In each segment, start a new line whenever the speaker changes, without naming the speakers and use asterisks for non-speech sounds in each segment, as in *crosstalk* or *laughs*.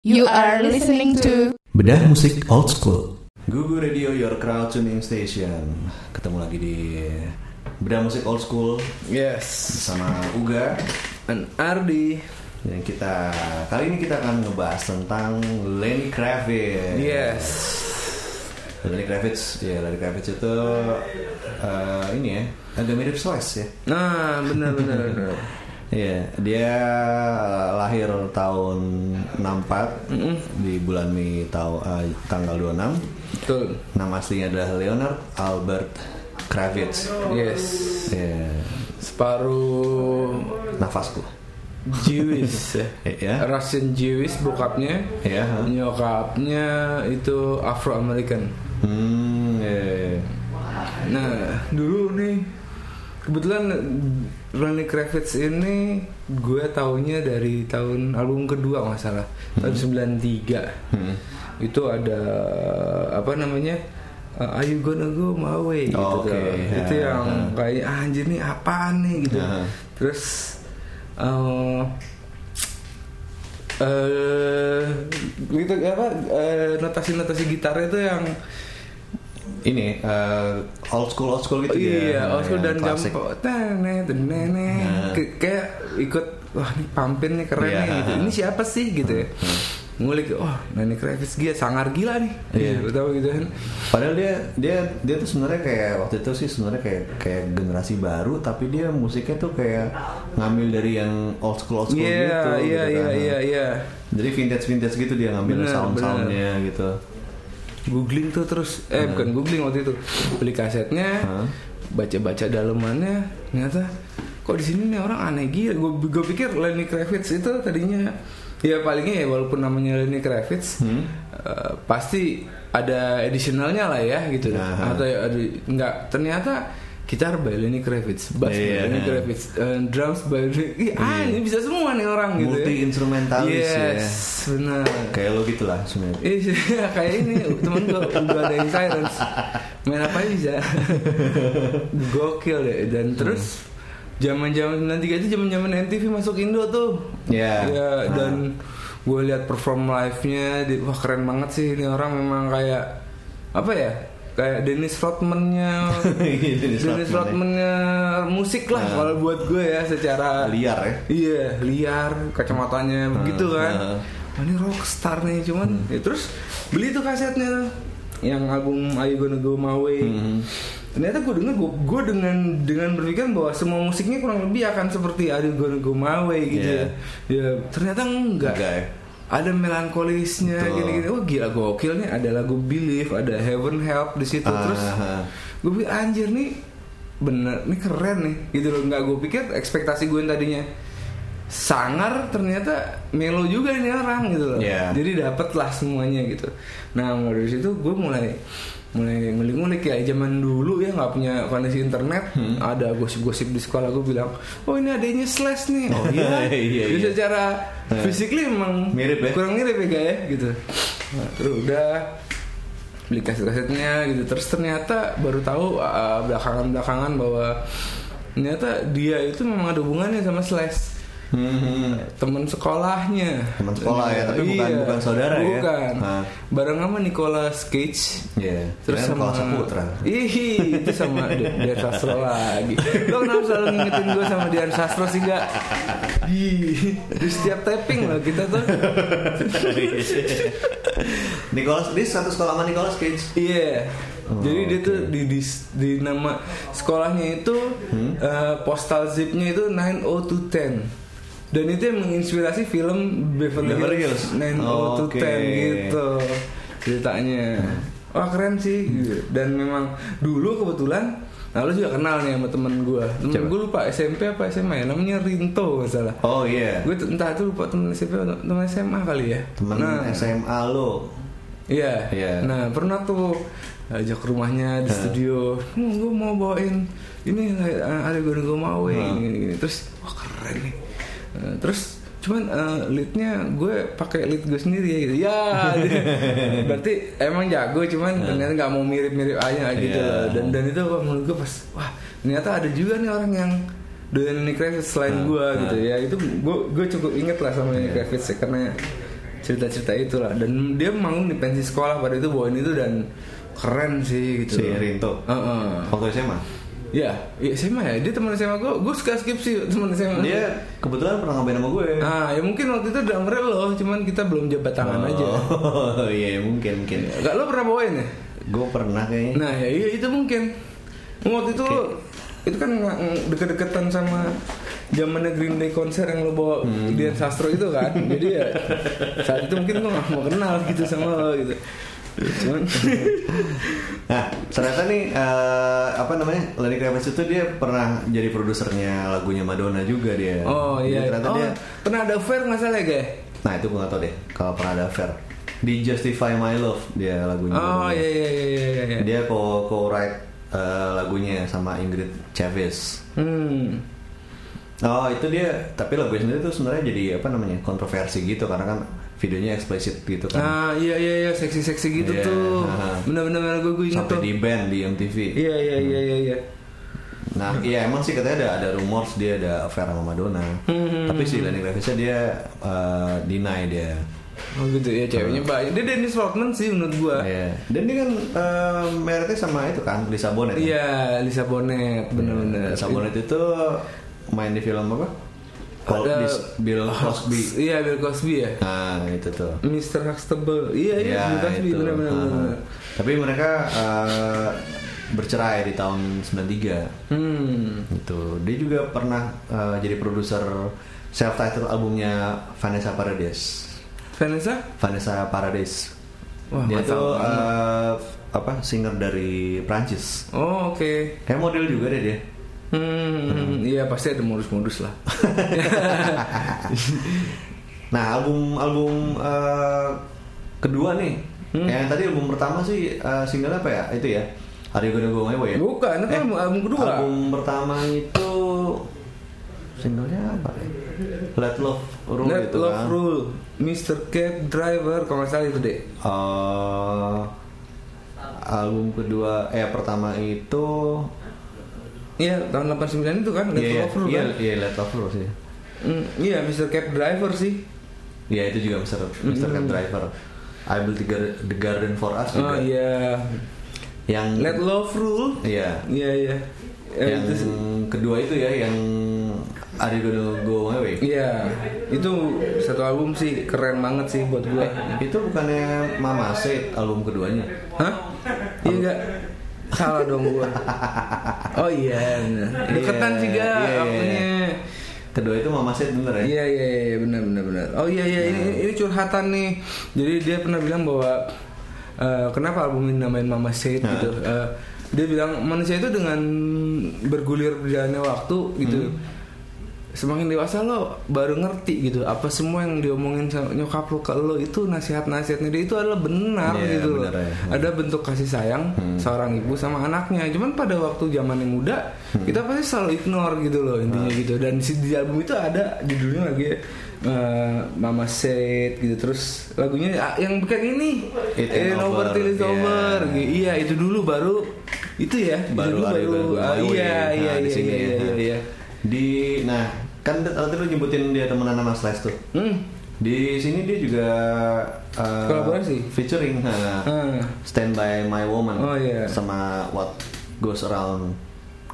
You are listening to
Bedah musik old school.
Gugu Radio Your Crowd Tuning Station. Ketemu lagi di Beda Musik Old School
Yes.
bersama Uga
Dan Ardi.
dan kita kali ini kita akan ngebahas tentang Lenny Kravitz.
Yes.
Lenny Kravitz, ya Lenny Kravitz itu eh, ini ya agak mirip Slice ya.
Nah, benar benar *laughs* benar.
Iya, dia eh, lahir tahun 64 di bulan Mei tahu tanggal 26.
Betul.
Nama aslinya adalah Leonard Albert Kravitz.
Yes.
Iya,
Separuh
nafasku.
Jewish ya.
Iya.
Russian Jewish bokapnya.
Iya, ha.
Nyokapnya itu Afro American.
Hmm, iya, iya.
Nah, dulu nih kebetulan Ronnie Kravitz ini gue taunya dari tahun album kedua nggak salah
Hmm.
tahun 93 itu ada apa namanya uh, Are you gonna go my way gitu
Oke,
tuh.
ya,
itu yang
ya.
kayak ah, anjir nih apaan nih gitu
Ya.
terus eh eh, gitu apa notasi notasi gitarnya itu yang
Ini eh, old school old school gitu dia.
Iya,
Yang
Oscar dan
klasik.
Gampo. Tene, tene, tene.
Nah.
Ke- Kayak ikut wah ini pampin nih keren
Iya. Hmm.
nih gitu. Ini siapa sih gitu ya. Ngulik, oh Nani Kravitz dia sangar gila nih.
Iya.
Gitu, tahu gitu kan.
Padahal dia dia dia tuh sebenarnya kayak waktu itu sih sebenarnya kayak kayak generasi baru tapi dia musiknya tuh kayak ngambil dari yang old school old school
Iya,
gitu. gitu
iya, iya,
kan.
iya, iya.
Jadi vintage vintage gitu dia ngambil
Bener,
sound soundnya gitu.
Googling tuh terus eh bukan googling waktu itu. Beli kasetnya.
Hmm. Hah?
Baca-baca dalemannya ternyata kok di sini nih orang aneh gila. Gue gue pikir Lenny Kravitz itu tadinya ya palingnya ya walaupun namanya Lenny Kravitz
Hmm?
eh, pasti ada additionalnya lah ya gitu
Aha.
atau ya, ada nggak ternyata gitar by Lenny Kravitz, bass
Iya.
by Lenny Kravitz, eh, drums by Lenny, Ih, ah ini bisa semua nih orang gitu. ya.
Multi instrumentalis
yes, benar.
ya. Kayak lo gitulah sebenarnya.
*laughs* Iya kayak ini temen gue udah ada yang silence main apa aja
*laughs*
bisa gokil deh dan
Hmm.
terus zaman zaman 93 itu zaman zaman NTV masuk Indo tuh
Iya.
ya dan gue lihat perform live nya di, wah keren banget sih ini orang memang kayak apa ya kayak Dennis Rodman-nya
*laughs* Iya, Dennis Ah.
Dennis
Rodman
Rodman-nya musik lah kalau buat gue ya secara
Liar ya. Hmm, nah.
Iya, liar, kacamatanya begitu kan.
heeh.
Wah, ini rockstar nih cuman.
Hmm.
Ya, terus beli tuh kasetnya tuh. yang album Are You Gonna Go My Way.
Hmm.
Ternyata gue denger gue, gue dengan dengan berpikiran bahwa semua musiknya kurang lebih akan seperti Are You Gonna Go My Way gitu.
Iya.
Ya, Ya, ternyata enggak.
Enggak ya.
Ada melankolisnya
Betul.
gini-gini. Wah, gila gokil nih ada lagu Believe, ada Heaven Help di situ terus
Ah.
gue pikir anjir nih bener nih keren nih gitu loh nggak gue pikir ekspektasi gue yang tadinya sangar ternyata melo juga ini orang gitu loh
Iya.
jadi dapet lah semuanya gitu nah mulai dari situ gue mulai mulai ngulik-ngulik ya zaman dulu ya nggak punya koneksi internet
Hmm.
ada gosip-gosip di sekolah gue bilang oh ini adanya slash nih oh *laughs* iya
Iya, *laughs*
Jadi
iya.
secara physically emang
Mirip ya?
kurang mirip ya Kak, ya gitu nah, terus udah beli kaset-kasetnya gitu terus ternyata baru tahu uh, belakangan-belakangan bahwa ternyata dia itu memang ada hubungannya sama Slash
Hmm.
teman sekolahnya Iya.
Teman sekolah ya, tapi bukan- bukan saudara ya?
bukan
Nah.
bareng sama Nicolas Cage
Iya. Terus sama
*laughs*
Saputra.
Ih, itu sama
*laughs*
De- Dian Sastro lagi. Lo kenapa selalu ngingetin gue sama Dian Sastro sih gak? Ih, di setiap taping loh kita tuh.
Nicholas, dia satu sekolah sama Nicholas Cage.
Iya.
Oh,
Jadi dia tuh di, di di nama sekolahnya itu
Hmm?
eh, postal zipnya itu 90210. Dan itu yang menginspirasi film Beverly,
Beverly
Hills
Hills.
90210
Oke.
gitu ceritanya. Wah keren sih.
Hmm.
Dan memang dulu kebetulan Nah lu juga kenal nih sama temen gue Temen
Siapa?
gue lupa SMP apa SMA ya Namanya Rinto masalah
Oh iya.
Gue t- entah itu lupa temen SMP atau temen SMA kali ya
Temen
Nah,
SMA lo.
Iya.
Iya.
Nah pernah tuh ajak ke rumahnya di studio. Hmm, gue mau bawain ini eh, ada gue gue mau
Hmm.
gini, gini. Terus wah keren nih. Eh, terus cuman eh, leadnya gue pakai lead gue sendiri ya gitu.
*laughs*
Ya. berarti emang jago cuman ternyata nggak mau mirip-mirip aja gitu.
Iya.
loh. Dan dan itu wah, menurut gue pas wah ternyata ada juga nih orang yang
Ah, Iya.
doyan Lenny Kravitz selain gue gitu ya itu gue gue cukup inget lah sama Lenny Kravitz ya, karena cerita-cerita itulah dan dia manggung di pensi sekolah pada itu bawain itu dan keren sih gitu
Si Rinto.
Heeh.
Waktu SMA.
ya ya SMA ya dia teman SMA gue gue suka skip sih teman SMA
Dia kebetulan pernah ngapain sama gue.
ah ya mungkin waktu itu drummer lo cuman kita belum jabat tangan aja
Oh, *laughs* iya mungkin mungkin.
Gak lo pernah bawain ya
Gue pernah kayaknya.
nah ya iya, itu mungkin waktu itu itu kan nge- nge- deket-deketan sama zamannya Green Day konser yang lo bawa
Hmm.
Dian Sastro itu kan jadi ya saat itu mungkin gue gak mau kenal gitu sama lo gitu cuman
Nah, ternyata nih eh, apa namanya? Lenny Kravitz itu dia pernah jadi produsernya lagunya Madonna juga dia.
oh
Jadi
iya
Ternyata
oh
dia.
pernah ada fair nggak salah ya Gay?
Nah itu gue gak tau deh. Kalau pernah ada fair di Justify My Love dia lagunya.
oh
Madonna.
iya iya iya iya iya, iya
Dia co co write lagunya sama Ingrid Chavez.
hmm
Oh itu dia. Tapi lagunya sendiri tuh sebenarnya jadi apa namanya kontroversi gitu karena kan videonya eksplisit gitu kan.
Ah iya iya iya seksi-seksi gitu
Iya,
tuh.
ah.
Benar-benar gue gue inget
Sampai
tuh.
di band di MTV.
Iya iya iya iya iya.
Nah, iya emang sih katanya ada ada rumor dia ada affair sama Madonna. Tapi si Lenny Kravitznya dia eh, deny dia.
Oh gitu ya ceweknya banyak. Dia Dennis Rodman sih menurut gue.
Ah. Iya. Dan dia kan eh, meritnya sama itu kan Lisa Bonet. kan?
Iya Lisa Bonet benar-benar.
Lisa Bonet itu main di film apa? Col-
Ada-
Dis- Bill Cosby.
Iya Bill Cosby ya.
Nah, itu tuh.
Mr. Huxtable. Iya iya
Ya,
Bill Cosby
itu.
benar-benar.
Ah.
benar-benar.
Tapi mereka eh, bercerai di tahun 93.
Hmm.
Gitu. Dia juga pernah eh, jadi produser self titled albumnya Vanessa Paradis.
Vanessa?
Vanessa Paradis.
Wah,
dia
nggak
tuh
tahu banget.
eh, apa singer dari Prancis.
Oh oke.
Kayak model juga deh dia.
Hmm, iya pasti ada modus-modus lah.
Nah album album eh, kedua nih.
Hmm.
Yang tadi album pertama sih eh, single apa ya? Itu ya. Are you gonna go my way ya?
Bukan,
*laughs*
itu album- album kedua.
Album pertama itu singlenya apa? ya? Let Love Rule
Let
itu kan.
Love Rule, Mr. Cab Driver, kalau nggak salah itu deh.
Eh, album kedua eh pertama itu
Iya tahun 89 itu kan Let
Iya,
yeah, Love Rule
iya,
kan.
iya, Let Love Rule sih.
Hmm, Iya Mr. Cab Driver sih.
Iya itu juga Mr.
Hmm.
Mr. Cab Driver. I Built the Gar- the Garden for Us
Oh
juga.
iya.
Yang
Let Love Rule.
Iya.
Iya iya. Eh,
Yang
itu sih.
kedua itu ya yang Are You Gonna Go My Way.
Iya, itu satu album sih keren banget sih buat gue.
Itu bukannya Mama Said album keduanya.
Hah? Iya gak? Salah dong gue. *laughs* Oh iya, bener. deketan
Iya,
sih gak
iya, iya.
waktunya.
Kedua itu Mama Said bener ya? Nah.
Iya iya iya benar benar benar. Oh iya iya ini ini curhatan nih. Jadi dia pernah bilang bahwa eh, kenapa album ini namain Mama Said
Nah.
gitu. Eh, dia bilang manusia itu dengan bergulir berjalannya waktu
Hmm.
gitu. Semakin dewasa lo baru ngerti gitu apa semua yang diomongin sama nyokap lo ke lo itu nasihat-nasihatnya dia itu adalah benar
Iya,
gitu loh.
benar ya. Hmm.
Ada bentuk kasih sayang seorang ibu sama anaknya. Cuman pada waktu zaman yang muda
Hmm.
kita pasti selalu ignore gitu loh intinya
Ah.
gitu. Dan di, di album itu ada judulnya lagi eh, Mama Said gitu. Terus lagunya ah, yang bukan ini.
It
Eh,
Ain't Over,
over till it's
yeah.
over. Gitu. Iya itu dulu baru itu ya. Itu
Baru
dulu
Are You Gonna Go
ah,
My Way.
iya,
Nah,
iya,
di
iya,
sini
iya,
ya.
iya, iya.
Di nah kan tadi lu nyebutin dia temenan sama Slash tuh.
Hmm.
Di sini dia juga eh,
Kolaborasi?
featuring nah,
Ah.
Stand by My Woman
Oh, iya.
sama What Goes Around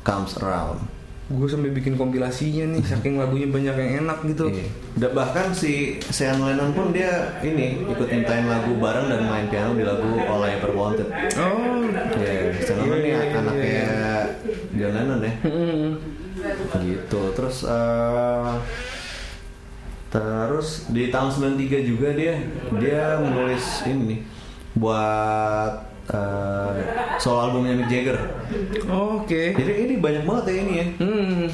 Comes Around.
Gue sampai bikin kompilasinya nih saking lagunya banyak yang enak gitu.
Iya. Da- Bahkan si Sean Lennon pun dia ini ikut nyantain lagu bareng dan main piano di lagu All I Ever Wanted.
Oh.
Ya, Sean Lennon
Iya,
nih anaknya John Lennon ya. Gitu. Terus eh, terus di tahun 93 juga dia dia menulis ini nih, buat eh, solo albumnya Mick Jagger.
Oh, Oke.
Jadi ini banyak banget ya ini ya.
Hmm.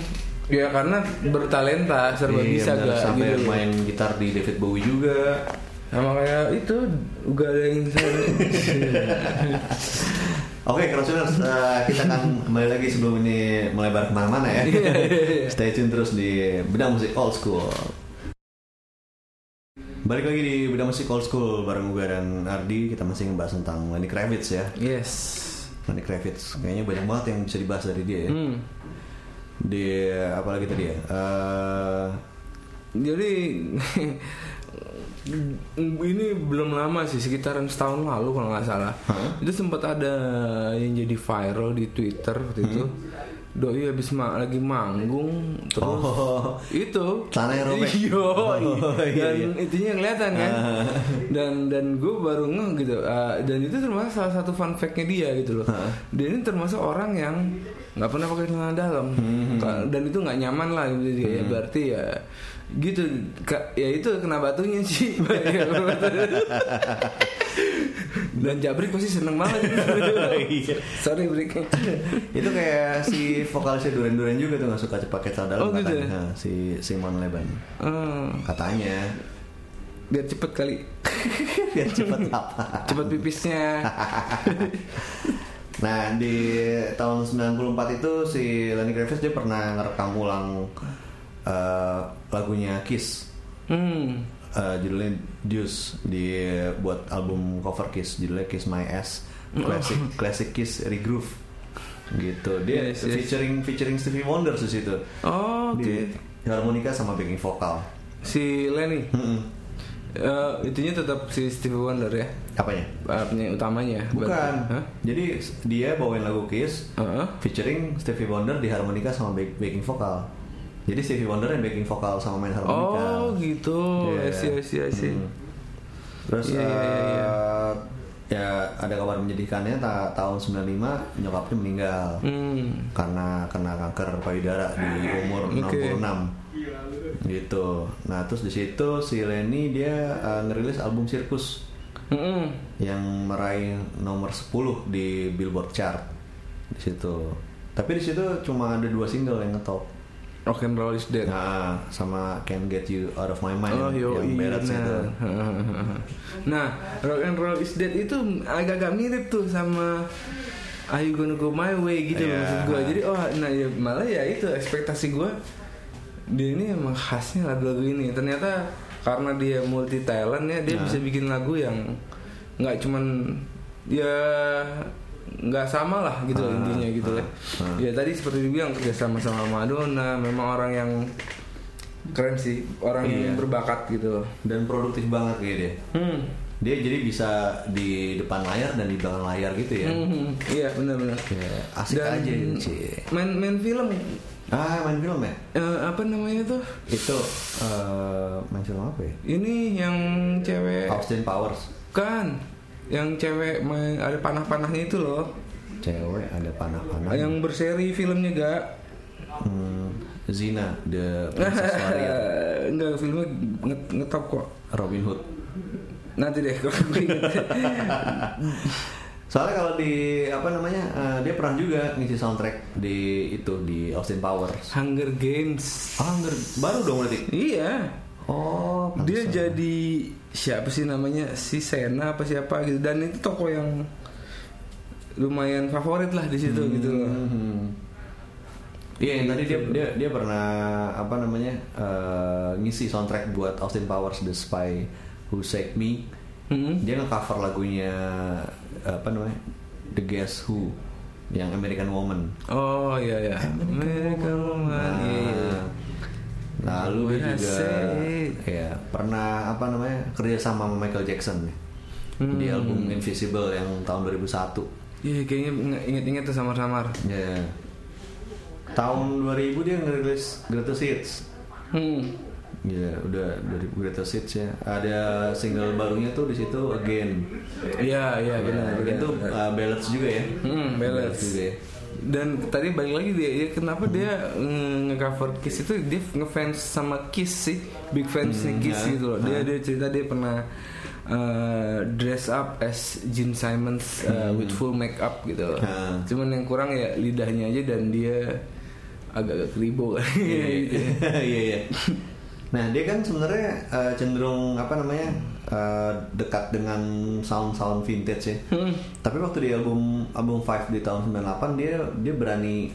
Ya karena bertalenta serba
Iya,
bisa
benar.
gak
sampai
gitu.
main gitar di David Bowie juga.
Sama kayak itu gak ada yang
*laughs* Oke, Crossuners, eh, kita akan kembali lagi sebelum ini melebar kemana-mana ya.
Iya,
Stay tune terus di Bedang Musik Old School. Balik lagi di Bedang Musik Old School bareng gue dan Ardi. Kita masih ngebahas tentang Lenny Kravitz ya.
Yes.
Lenny Kravitz, kayaknya banyak banget yang bisa dibahas dari dia ya.
Hmm.
Di apalagi tadi ya? Eh,
Jadi *laughs* ini belum lama sih sekitaran setahun lalu kalau nggak salah itu sempat ada yang jadi viral di Twitter waktu itu
Hmm.
doi habis ma- lagi manggung terus
Oh. *laughs*
itu
Tanahnya robek.
*laughs* Iya,
Oh, iya, Ah.
dan
iya.
intinya kelihatan kan dan dan gue baru ngeh gitu Ah, dan itu termasuk salah satu fun fact-nya dia gitu loh
Ah.
dia ini termasuk orang yang nggak pernah pakai celana dalam
Hmm.
Ka- dan itu nggak nyaman lah gitu dia. ya berarti ya gitu Ka- ya itu kena batunya
*laughs*
sih dan Jabrik pasti seneng
*laughs*
banget
Iya.
sorry Brik
itu kayak si vokalisnya Duran Duran juga tuh nggak suka pakai celana dalam
Oh, gitu
katanya.
ya?
Nah, si Simon Leban
Eh,
katanya *laughs*
biar cepet kali
biar cepet apa
cepet pipisnya
*laughs* nah di tahun 94 itu si Lenny Kravitz dia pernah ngerekam ulang eh, lagunya Kiss
hmm
Eh, judulnya Juice di buat album cover Kiss judulnya Kiss My Ass classic
Oh.
classic Kiss regroove gitu dia
Yes, yes.
featuring featuring Stevie Wonder di situ
Iya, Oh, oke
Di harmonika sama backing vokal
si Lenny
Mm-mm.
Eh, itunya tetap si Stevie Wonder ya
apanya
Artinya utamanya ya?
bukan
Berarti. Hah?
jadi dia bawain lagu Kiss
Heeh.
featuring Stevie Wonder di harmonika sama back- backing vokal jadi Stevie Wonder yang backing vokal sama main harmonika
oh gitu
Iya.
I see I see I see.
Hmm. Terus
Iya, iya, iya, iya.
eh, ya ada kabar menyedihkannya ta- tahun 95 nyokapnya meninggal
Hmm.
karena kena kanker payudara di umur
Oke.
66. Gitu. Nah, terus di situ si Lenny dia eh, ngerilis album Sirkus
Mm-mm.
yang meraih nomor 10 di Billboard chart di situ. Tapi di situ cuma ada dua single yang ngetop.
Rock and roll is dead
Nah, sama Can't Get You Out of My Mind
Oh, yo,
yang
iya,
berat
nah.
itu.
*laughs* nah, rock and roll is dead itu agak-agak mirip tuh sama Are you gonna go my way gitu loh
Iya.
maksud gue. Jadi oh, nah ya malah ya itu ekspektasi gue dia ini emang khasnya lagu-lagu ini. Ternyata karena dia multi talent ya
Nah.
dia bisa bikin lagu yang nggak cuman ya nggak sama lah gitu
Ah,
loh intinya gitu ya. Ya tadi seperti dibilang kerja sama sama Madonna memang orang yang keren sih orang
Iya.
yang berbakat gitu loh.
dan produktif banget kayak dia.
Hmm.
Dia jadi bisa di depan layar dan di belakang layar gitu ya.
Mhm, Iya benar-benar.
Kayak asik aja gitu sih.
Main main film
Ah, main film ya?
eh, apa namanya tuh?
Itu eh main film apa ya?
Ini yang cewek
Austin Powers.
kan yang cewek main ada panah-panahnya itu loh.
Cewek ada panah-panah.
Yang berseri filmnya gak?
Hmm, Zina, The
*laughs*
Princess Warrior,
Enggak filmnya nge- ngetop kok.
Robin Hood.
Nanti deh *laughs* kalau gue inget.
*laughs* Soalnya kalau di apa namanya eh, dia pernah juga ngisi soundtrack di itu di Austin Powers.
Hunger Games.
Ah, Hunger- baru dong berarti.
Iya.
Oh,
dia jadi siapa sih namanya si Sena apa siapa gitu dan itu toko yang lumayan favorit lah di situ gitu loh
Mhm. Iya yang tadi dia dia dia pernah apa namanya eh, ngisi soundtrack buat Austin Powers The Spy Who Saved Me.
Mhm.
Dia nge-cover lagunya apa namanya The Guess Who yang American Woman.
oh iya iya mereka Woman iya iya.
Lalu dia juga
Asik.
ya pernah apa namanya kerja sama sama Michael Jackson di album Invisible yang tahun 2001.
Iya, kayaknya nge- inget-inget tuh samar-samar
Ya. Tahun 2000 dia ngerilis Greatest Hits.
hmm.
Ya, udah 2000 Greatest Hits ya. Ada single barunya tuh di situ Again.
iya
Ya,
iya benar
Again
benar,
tuh
benar.
uh, ballads juga ya.
Hmm, ballads.
juga ya.
dan tadi balik lagi dia ya, kenapa dia mm, ngecover Kiss itu dia ngefans sama Kiss sih big fansnya Kiss
ya.
gitu loh dia dia cerita dia pernah uh, dress up as Gene Simons uh,
Hmm.
with full makeup gitu loh.
Ah.
cuman yang kurang ya lidahnya aja dan dia agak-agak keribo
*laughs* Iya,
*laughs* gitu ya.
Iya, iya. iya. Nah, dia kan sebenarnya uh, cenderung apa namanya? uh, dekat dengan sound-sound vintage ya. Tapi waktu di album album Five di tahun 98 dia dia berani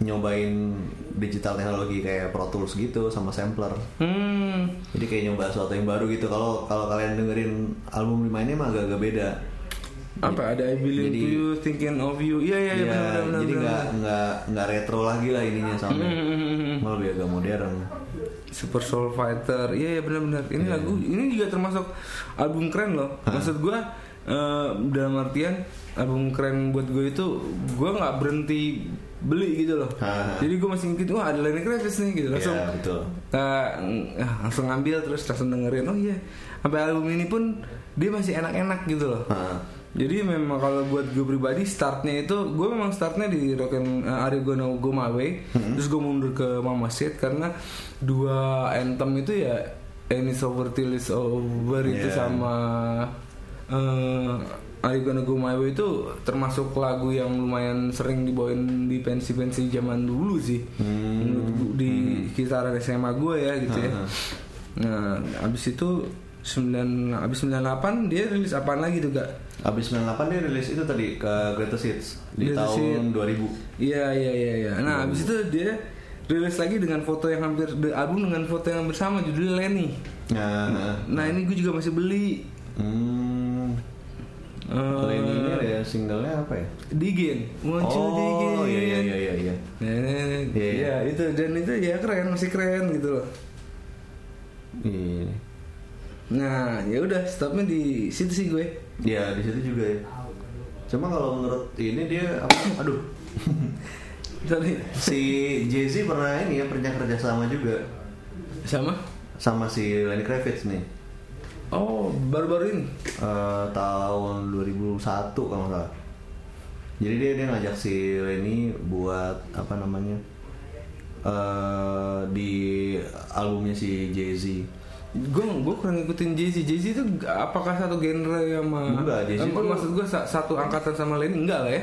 nyobain digital teknologi kayak Pro Tools gitu sama sampler.
hmm
Jadi kayak nyoba sesuatu yang baru gitu. Kalau kalau kalian dengerin album lima ini mah agak-agak beda.
apa ada I Believe
Jadi-
You, Thinking of You, iya iya iya
Iya,
benar benar
jadi
benar,
nggak
benar.
nggak nggak retro lagi lah ininya sampai
Hmm, hmm, hmm, hmm.
malah lebih agak modern.
Super Soul Fighter, iya iya benar benar. Ini lagu ini juga termasuk album keren loh. Maksud gua eh, dalam artian album keren buat gue itu gua nggak berhenti beli gitu loh.
Ha.
Jadi gue masih ngikutin, wah ada Lenny Kravitz nih gitu langsung.
Iya betul.
eh, ah, langsung ngambil terus langsung dengerin oh iya sampai album ini pun dia masih enak-enak gitu loh
Hah.
jadi memang kalau buat gue pribadi startnya itu gue memang startnya di rock and uh, Are You Gonna Go My Way terus gue mundur ke Mama Said karena dua anthem itu ya And It's Over Till It's Over itu
Yeah.
sama uh, Are You Gonna Go My Way itu termasuk lagu yang lumayan sering dibawain di pensi-pensi zaman dulu sih
Hmm.
menurut gua- di kisaran SMA gue ya gitu
Hmm.
ya nah abis itu 9 abis 98 dia rilis apaan lagi tuh gak
Abis 98 dia rilis itu tadi ke Greatest Hits di
Greatest
tahun
Hits.
2000.
Iya iya iya iya. Nah abis itu dia rilis lagi dengan foto yang hampir the album dengan foto yang bersama judulnya Lenny.
Nah,
Nah ini gue juga masih beli
hmm,
Eh,
Kalau ini ya singlenya apa ya?
Digin. Won't you Digin?
Oh iya iya iya iya. iya.
Nah, nah,
Iya,
nah.
iya.
Iya, itu dan itu ya keren masih keren gitu loh.
Iya.
Nah ya udah stopnya di situ sih gue.
Ya di situ juga ya. Cuma kalau menurut ini dia apa? Aduh. *laughs*
Sorry.
Si Jay Z pernah ini ya pernah kerja sama juga
Sama?
sama si Lenny Kravitz nih.
Oh baru-baru ini.
Eh, tahun 2001 kalau nggak salah. Jadi dia dia ngajak si Lenny buat apa namanya eh di albumnya si Jay Z.
Gue gue kurang ngikutin Jay Z. Jay Z itu apakah satu genre sama?
Enggak, Jay-Z
Em,
itu-
maksud gue sa- satu angkatan sama Lenny enggak lah ya?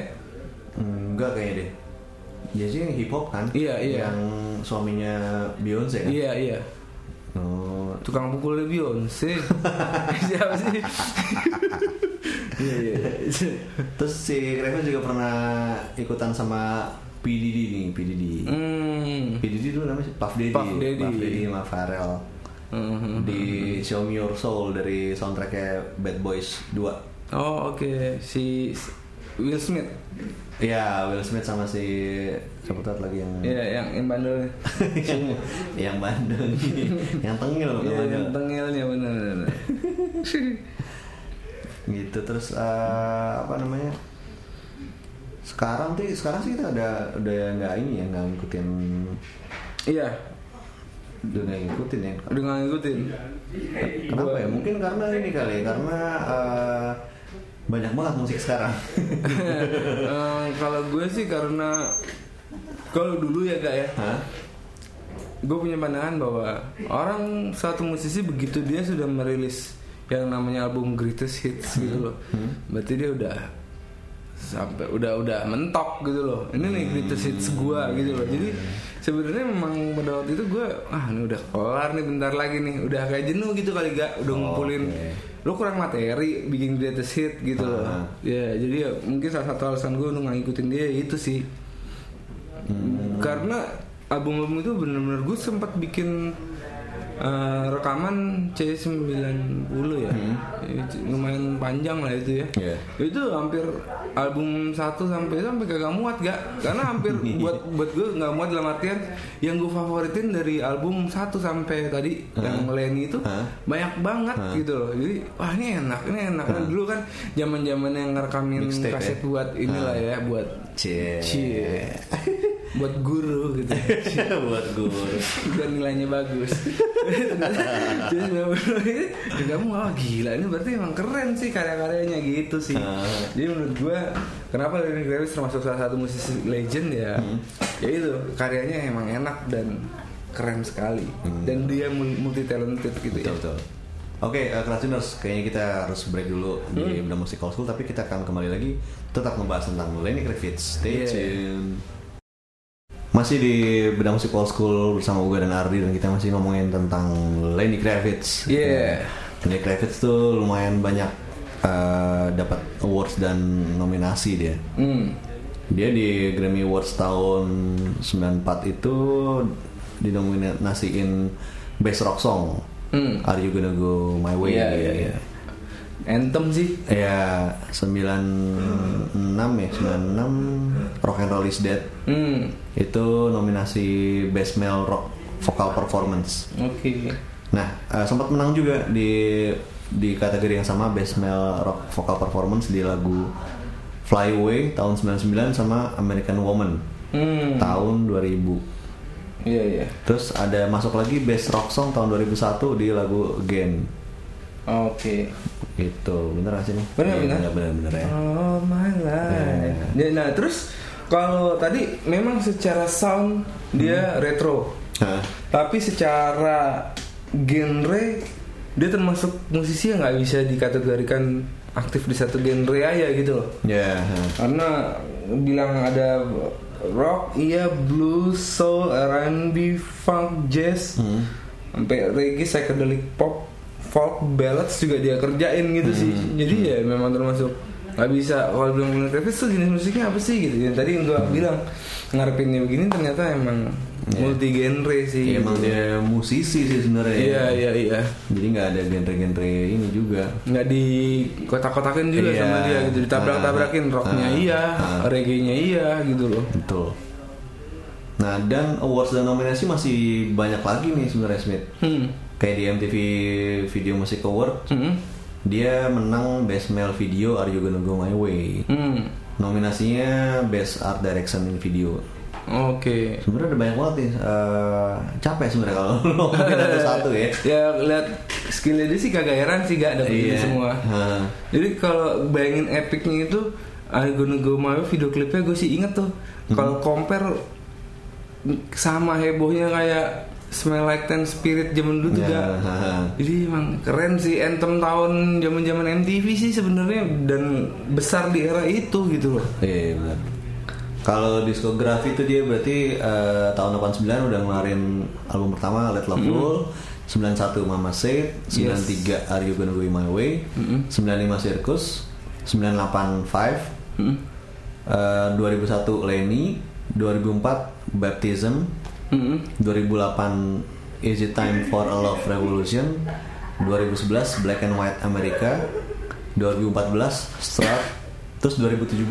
Enggak kayaknya deh. Jay Z yang hip hop kan?
Iya, iya.
Yang suaminya Beyonce kan?
Iya iya.
Oh,
Tukang pukul *laughs* Beyonce. Siapa sih? Iya iya.
Terus si Kravitz juga pernah ikutan sama PDD nih, PDD.
Hmm.
PDD dulu namanya siapa? Puff Daddy.
Puff Daddy.
Puff Daddy sama Pharrell.
Mhm.
Di Show Me Your Soul dari soundtracknya Bad Boys 2.
Oh oke si S- Will Smith.
Iya, Will Smith sama si siapa tuh lagi yang
Iya yang yang bandelnya.
yang, *laughs* yang bandel nih. yang tengil bukan
Iya
bandel.
yang tengilnya benar *laughs* benar.
gitu terus eh, apa namanya sekarang sih sekarang sih kita ada udah nggak ini ya nggak ngikutin
Iya
udah nggak ngikutin ya
udah nggak ngikutin.
Kenapa ya? Mungkin karena ini kali, ya, karena eh, banyak banget musik sekarang. *laughs*
*laughs* Eh, kalau gue sih karena kalau dulu ya kak ya
Hah?
gue punya pandangan bahwa orang satu musisi begitu dia sudah merilis yang namanya album
Hmm.
greatest hits gitu loh berarti dia udah sampai udah udah mentok gitu loh ini
Hmm.
nih greatest hits gua gitu loh
Iya,
jadi sebenarnya memang pada waktu itu gua ah ini udah kelar nih bentar lagi nih udah kayak jenuh gitu kali gak
Oh,
udah
Oke.
ngumpulin lo kurang materi bikin greatest hit gitu loh
Ah.
ya jadi ya mungkin salah satu alasan gue untuk nggak ngikutin dia ya itu sih karena album-album itu bener-bener gue sempat bikin eh, rekaman C90 ya Itu lumayan panjang lah itu ya
Hmm. Iya.
itu hampir album 1 sampai sampai kagak muat gak karena hampir
*laughs*
buat buat gue nggak muat dalam artian yang gue favoritin dari album 1 sampai tadi yang Lenny itu
Hah?
banyak banget gitu loh jadi wah ini enak ini enak Nah, dulu kan zaman zaman yang ngerekamin
Mixtape, ya?
kaset buat inilah ya buat
Cie.
Cie. *laughs* buat guru gitu
Buat gue.
dan nilainya
*laughs*
bagus jadi bener-bener ini ya kamu wah gila ini berarti emang keren sih karya-karyanya gitu sih
Ah.
jadi menurut gue kenapa Lenny Kravitz termasuk salah satu musisi legend ya
Hmm.
ya itu karyanya emang enak dan keren sekali dan dia multi talented gitu
Hmm. Betul
ya
betul. Oke, eh, Krasuners, kayaknya kita harus break dulu di
Hmm.
Benda Musik Old School, tapi kita akan kembali lagi tetap membahas tentang Lenny Kravitz. Stay
Iya.
tune. Masih di Benda Musik Old School bersama gue dan Ardi dan kita masih ngomongin tentang Lenny Kravitz.
Iya.
Lenny Kravitz tuh lumayan banyak eh, dapat awards dan nominasi dia.
Hmm.
Dia di Grammy Awards tahun 94 itu dinominasiin Best Rock Song.
Hmm.
Are You Gonna Go My Way.
Iya, iya, iya. Anthem sih.
Ya 96 ya 96 Rock and Roll is Dead
Hmm.
itu nominasi Best Male Rock Vocal Performance.
Oke.
Nah eh, sempat menang juga di di kategori yang sama Best Male Rock Vocal Performance di lagu Fly Away tahun 99 sama American Woman
Hmm.
tahun 2000.
Iya iya.
Terus ada masuk lagi Best Rock Song tahun 2001 di lagu Again.
Oke.
Gitu, bener gak sih nih?
Bener,
Iya,
bener.
bener, bener ya.
Oh my life. Ya, Nah terus kalau tadi memang secara sound dia retro,
Hah.
tapi secara genre dia termasuk musisi yang nggak bisa dikategorikan aktif di satu genre aja gitu loh.
Ya, hah.
Karena bilang ada rock, iya blues, soul, R&B, funk, jazz,
Hmm.
sampai reggae, psychedelic pop, folk ballads juga dia kerjain gitu sih.
Hmm.
Jadi ya memang termasuk nggak bisa kalau bilang bilang Travis tuh jenis musiknya apa sih gitu. Yang tadi yang gua bilang ngarepinnya begini ternyata emang multi genre sih.
Ya, Iya. emang dia musisi sih sebenarnya.
Gitu.
ya.
Iya iya iya.
Jadi nggak ada genre-genre ini juga.
nggak di kotak-kotakin juga
Iya.
sama dia gitu ditabrak-tabrakin
Ah,
rocknya
ah,
iya
ah.
reggae-nya iya gitu loh
Betul. Nah, dan awards dan nominasi masih banyak lagi nih sebenarnya Smith.
hmm.
Kayak di MTV Video Music Award,
Hmm.
dia menang Best Male Video Are You Gonna Go My Way.
Hmm.
Nominasinya Best Art Direction in Video.
Oke.
Sebenarnya ada banyak banget nih. eh, capek sebenarnya kalau *laughs* ngomongin satu-satu ya.
*laughs* Ya lihat skillnya dia sih kagak heran sih gak ada
Iya.
semua.
Hah.
Jadi kalau bayangin epicnya itu ah, I Gonna Go My Way, video klipnya gue sih inget tuh.
Mm-hmm.
Kalau compare sama hebohnya kayak Smell Like Teen Spirit zaman dulu
Ya,
juga.
hah.
Jadi emang keren sih anthem tahun zaman-zaman MTV sih sebenarnya dan besar di era itu gitu loh.
Iya benar. Kalau diskografi itu dia berarti eh, tahun 89 udah ngeluarin album pertama Let Love Rule, 91 Mama Said, 93 Are You Gonna Go My Way, 95 Circus, 98 Five, eh, 2001 Lenny, 2004 Baptism, 2008 Is It Time for a Love Revolution, 2011 Black and White America, 2014 Strat, terus 2017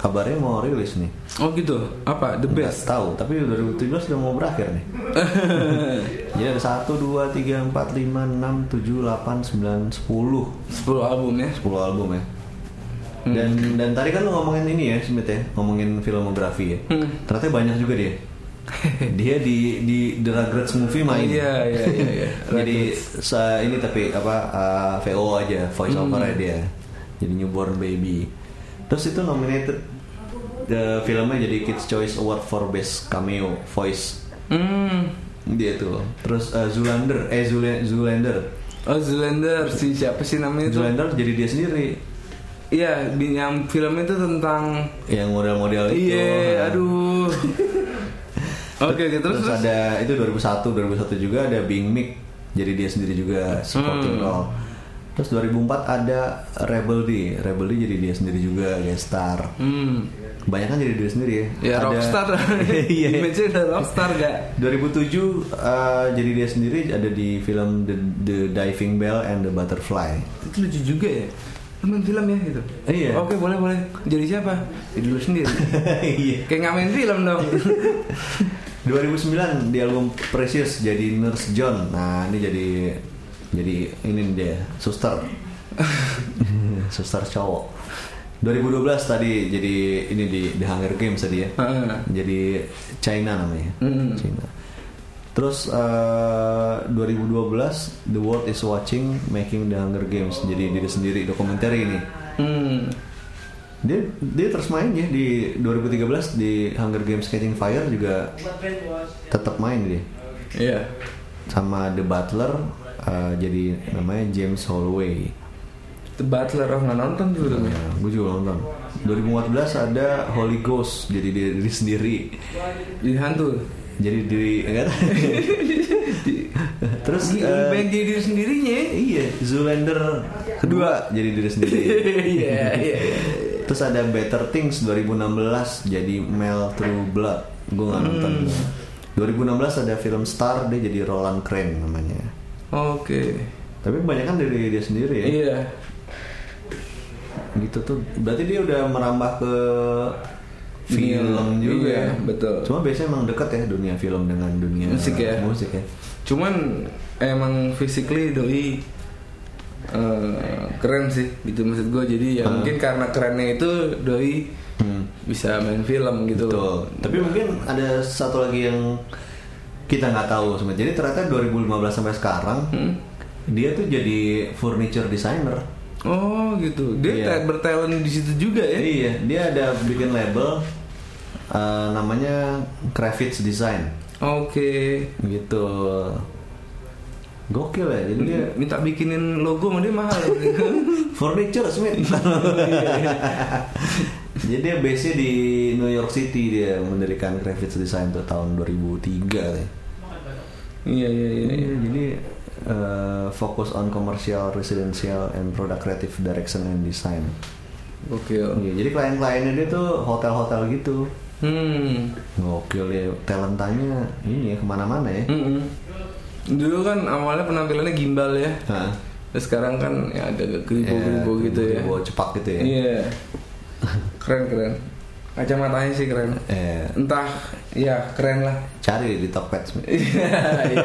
kabarnya mau rilis nih.
Oh gitu. Apa? The
Nggak
best.
tahu, tapi 2017 udah mau berakhir
*laughs*
nih. Jadi ada 1 2 3 4 5 6 7 8 9 10.
10 album ya.
10 album ya.
Hmm.
Dan dan tadi kan lu ngomongin ini ya Smith ya, ngomongin filmografi ya.
Hmm.
Ternyata banyak juga
*laughs*
dia. dia di di The Rugrats movie main.
Iya, iya, iya, iya.
*laughs* Jadi sa- ini tapi apa uh, VO aja voice over
Hmm.
dia. Jadi newborn baby. Terus itu nominated the filmnya jadi Kids Choice Award for Best Cameo Voice
Hmm.
dia tuh. Terus uh, Zoolander, eh Zool- Zoolander.
Oh Zoolander si siapa sih namanya itu?
Zoolander jadi dia sendiri
Iya, di- yang film itu tentang
yang model-model itu.
Iya,
Nah.
aduh.
*laughs*
Oke, oke, terus
terus,
terus.
ada itu 2001 2001 juga ada Bing Mick jadi dia sendiri juga supporting
Hmm.
role terus 2004 ada Rebel D Rebel D jadi dia sendiri juga guest star
Hmm.
banyak kan jadi dia sendiri
Ya
Ada-
rockstar.
*laughs*
*laughs*
iya
Image udah rockstar gak?
2007 eh, jadi dia sendiri ada di film The, The Diving Bell and the Butterfly *laughs*
Itu lucu juga ya. Temen film ya gitu.
Iya.
Oke, boleh, boleh. Jadi siapa? Jadi lu
*laughs*
sendiri.
iya
Kayak nggak main film dong.
2009 di album Precious jadi Nurse John nah ini jadi jadi ini dia suster *laughs* suster cowok 2012 tadi jadi ini di The Hunger Games tadi ya
Heeh.
jadi China namanya
Mm.
China terus eh, 2012 The World Is Watching Making The Hunger Games jadi diri sendiri dokumenter ini
*laughs* hmm.
dia dia terus main ya di 2013 di Hunger Games Catching Fire juga tetap main dia
Iya.
sama The Butler eh, jadi namanya James Holloway.
The Butler oh nggak nonton tuh filmnya.
gue juga nonton. 2014 ada Holy Ghost jadi diri, diri sendiri.
Jadi hantu.
Jadi diri enggak tahu. Terus
Ini
eh,
pengen jadi diri sendirinya.
iya Zoolander kedua jadi diri sendiri.
*laughs* Iya, iya.
Terus ada Better Things 2016 jadi Mel True Blood. Gue nggak
Hmm.
nonton. 2016 ada film Star dia jadi Roland Crane namanya.
Oke.
Tapi kebanyakan dari dia sendiri ya.
Iya. gitu tuh
Berarti dia udah merambah ke film juga.
Iya,
ya.
betul.
Cuma biasanya emang deket ya dunia film dengan dunia
Musik ya.
Musik ya.
cuman emang physically doi eh, keren sih gitu maksud gue jadi ya
Hmm.
mungkin karena kerennya itu doi
Hmm.
bisa main film gitu
Betul.
loh
Tapi mungkin ada satu lagi yang kita nggak tahu sebenarnya. Jadi ternyata 2015 sampai sekarang
Hmm.
dia tuh jadi furniture designer.
oh gitu dia
Iya.
ta- bertalent di situ juga ya
Iya, dia ada bikin label eh, namanya Kravitz Design
oke
gitu. Gokil ya, jadi dia
minta bikinin logo sama dia
*laughs*
mahal
furniture Smith. jadi dia base di New York City dia mendirikan Kravitz Design tuh tahun 2003 ya.
iya iya iya
Iya,
iya.
jadi uh, fokus on commercial, residential, and product creative direction and design.
oke
Iya, jadi klien-kliennya dia tuh hotel-hotel gitu.
hmm
Gokil ya, talentanya ini ya kemana-mana ya.
Mm-mm. Hmm, dulu kan awalnya penampilannya gimbal ya
Hah?
Terus sekarang kan ya agak keribu-keribu
Eh,
gitu ya
keribu cepak gitu ya.
Iya. Keren keren. Kacamatanya sih keren.
Eh,
Entah ya keren lah.
cari di Tokped.
*laughs* Iya, iya, iya.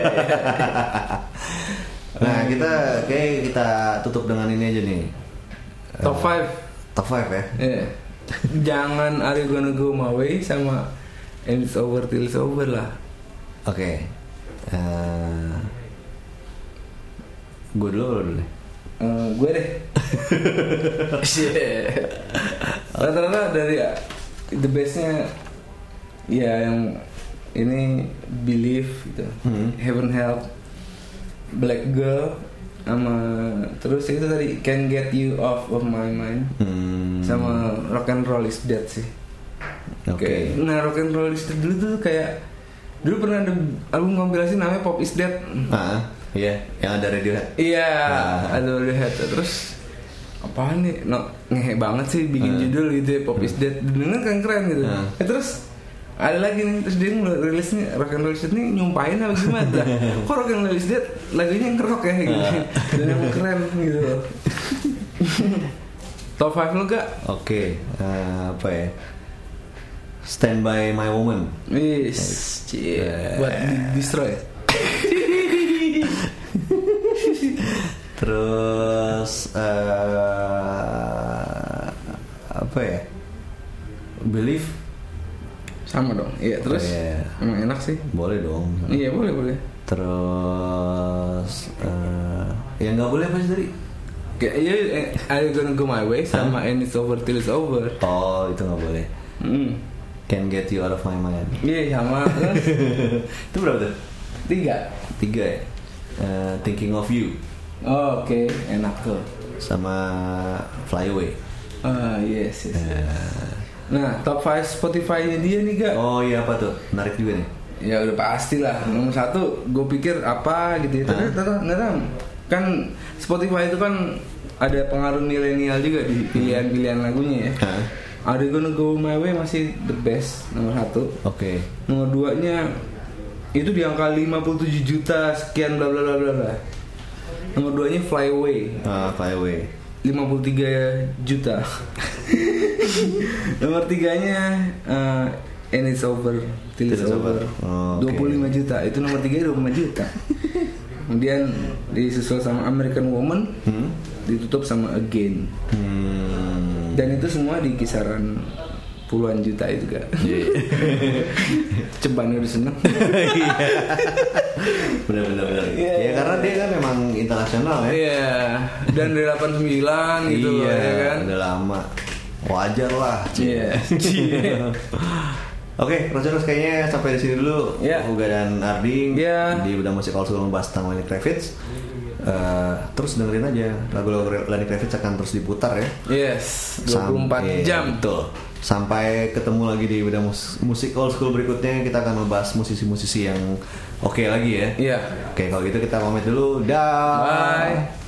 Nah,
Hmm.
kita kayak kita tutup dengan ini aja nih.
Top 5.
Top 5 ya.
Iya. Jangan Are You Gonna Go My Way sama And It's Over Till It's Over lah.
Oke. Eh gue dulu apa lu dulu. nih?
Eh, gue
*laughs*
deh. Shit. Rata-rata dari ya, the bestnya ya yang ini believe gitu.
Hmm.
Heaven Help, Black Girl, sama terus itu tadi Can Get You Off of My Mind,
Hmm.
sama Rock and Roll is Dead sih.
Oke.
Kayak- Nah Rock and Roll is Dead dulu tuh kayak dulu pernah ada album kompilasi namanya Pop is Dead.
Ah, iya, yang ada Radiohead.
Iya,
Ah.
aduh lihat terus apaan nih no, ngehe banget sih bikin
Hmm.
judul gitu ya Pop is Dead Dengar keren keren gitu
Hmm.
Eh, terus ada lagi nih terus dia ngelu- rilisnya rock and roll is Dead nih nyumpahin apa gimana
*laughs*
Lah, kok rock and roll is Dead lagunya yang rock ya gitu
Hmm.
dan yang keren
*laughs*
gitu loh top 5 lu gak?
Oke, eh, apa ya? Stand by my woman.
Wis, cie. buat di destroy
Terus eh apa ya? Believe
sama dong iya terus
Iya.
emang enak sih
boleh dong.
iya boleh boleh
Terus eh, yang nggak boleh apa sih tadi?
Kayak ya, eh, Are You Gonna Go My Way sama
Hmm.
And It's Over Till It's Over.
Oh, itu nggak boleh.
Hmm.
Can get you out of my mind. *laughs*
Iya sama terus *laughs*
itu berapa tuh?
tiga.
Tiga ya. Eh, thinking of you
Oh, Oke enak tuh.
sama fly away.
Ah yes, yes.
Eh,
Nah top 5 Spotify-nya dia nih gak?
Oh iya apa tuh? Menarik juga nih.
Ya udah pasti lah nomor satu. Gue pikir apa gitu. ya.
Hah?
Tapi ternyata ternyata kan Spotify itu kan ada pengaruh milenial juga di pilihan-pilihan lagunya ya.
Hmm. Hah?
Are You Gonna Go My Way masih the best nomor satu.
Oke.
Nomor duanya itu di angka 57 juta sekian bla bla bla bla bla. Nomor duanya Fly Away
Ah, fly away.
53 juta. *laughs* Nomor tiganya eh, And It's Over Till It's
Till It's
Over.
Over. Oh, oke.
25 juta. Itu nomor tiga 25 juta. Kemudian disusul sama American Woman,
Hmm.
ditutup sama Again.
Hmm.
Dan itu semua di kisaran puluhan juta itu kan.
*laughs* Iya,
Ceban udah seneng.
Benar benar benar.
Iya,
ya
iya.
karena dia kan memang internasional ya.
Iya. Dan dari
Iya,
89 gitu loh, ya kan.
Udah lama. Wajar lah.
Iya. *laughs* Cie.
Oke, Roger kayaknya sampai di sini dulu.
Iya.
Uga dan Ardi
Iya.
di Udah Musik All School membahas tentang Lenny Kravitz. Eh, terus dengerin aja lagu-lagu Lenny Kravitz akan terus diputar ya.
Yes, 24
Sampai-
jam.
betul sampai ketemu lagi di bidang mus- musik old school berikutnya kita akan membahas musisi-musisi yang oke lagi ya
Iya.
oke kalau gitu kita pamit dulu dah
Bye.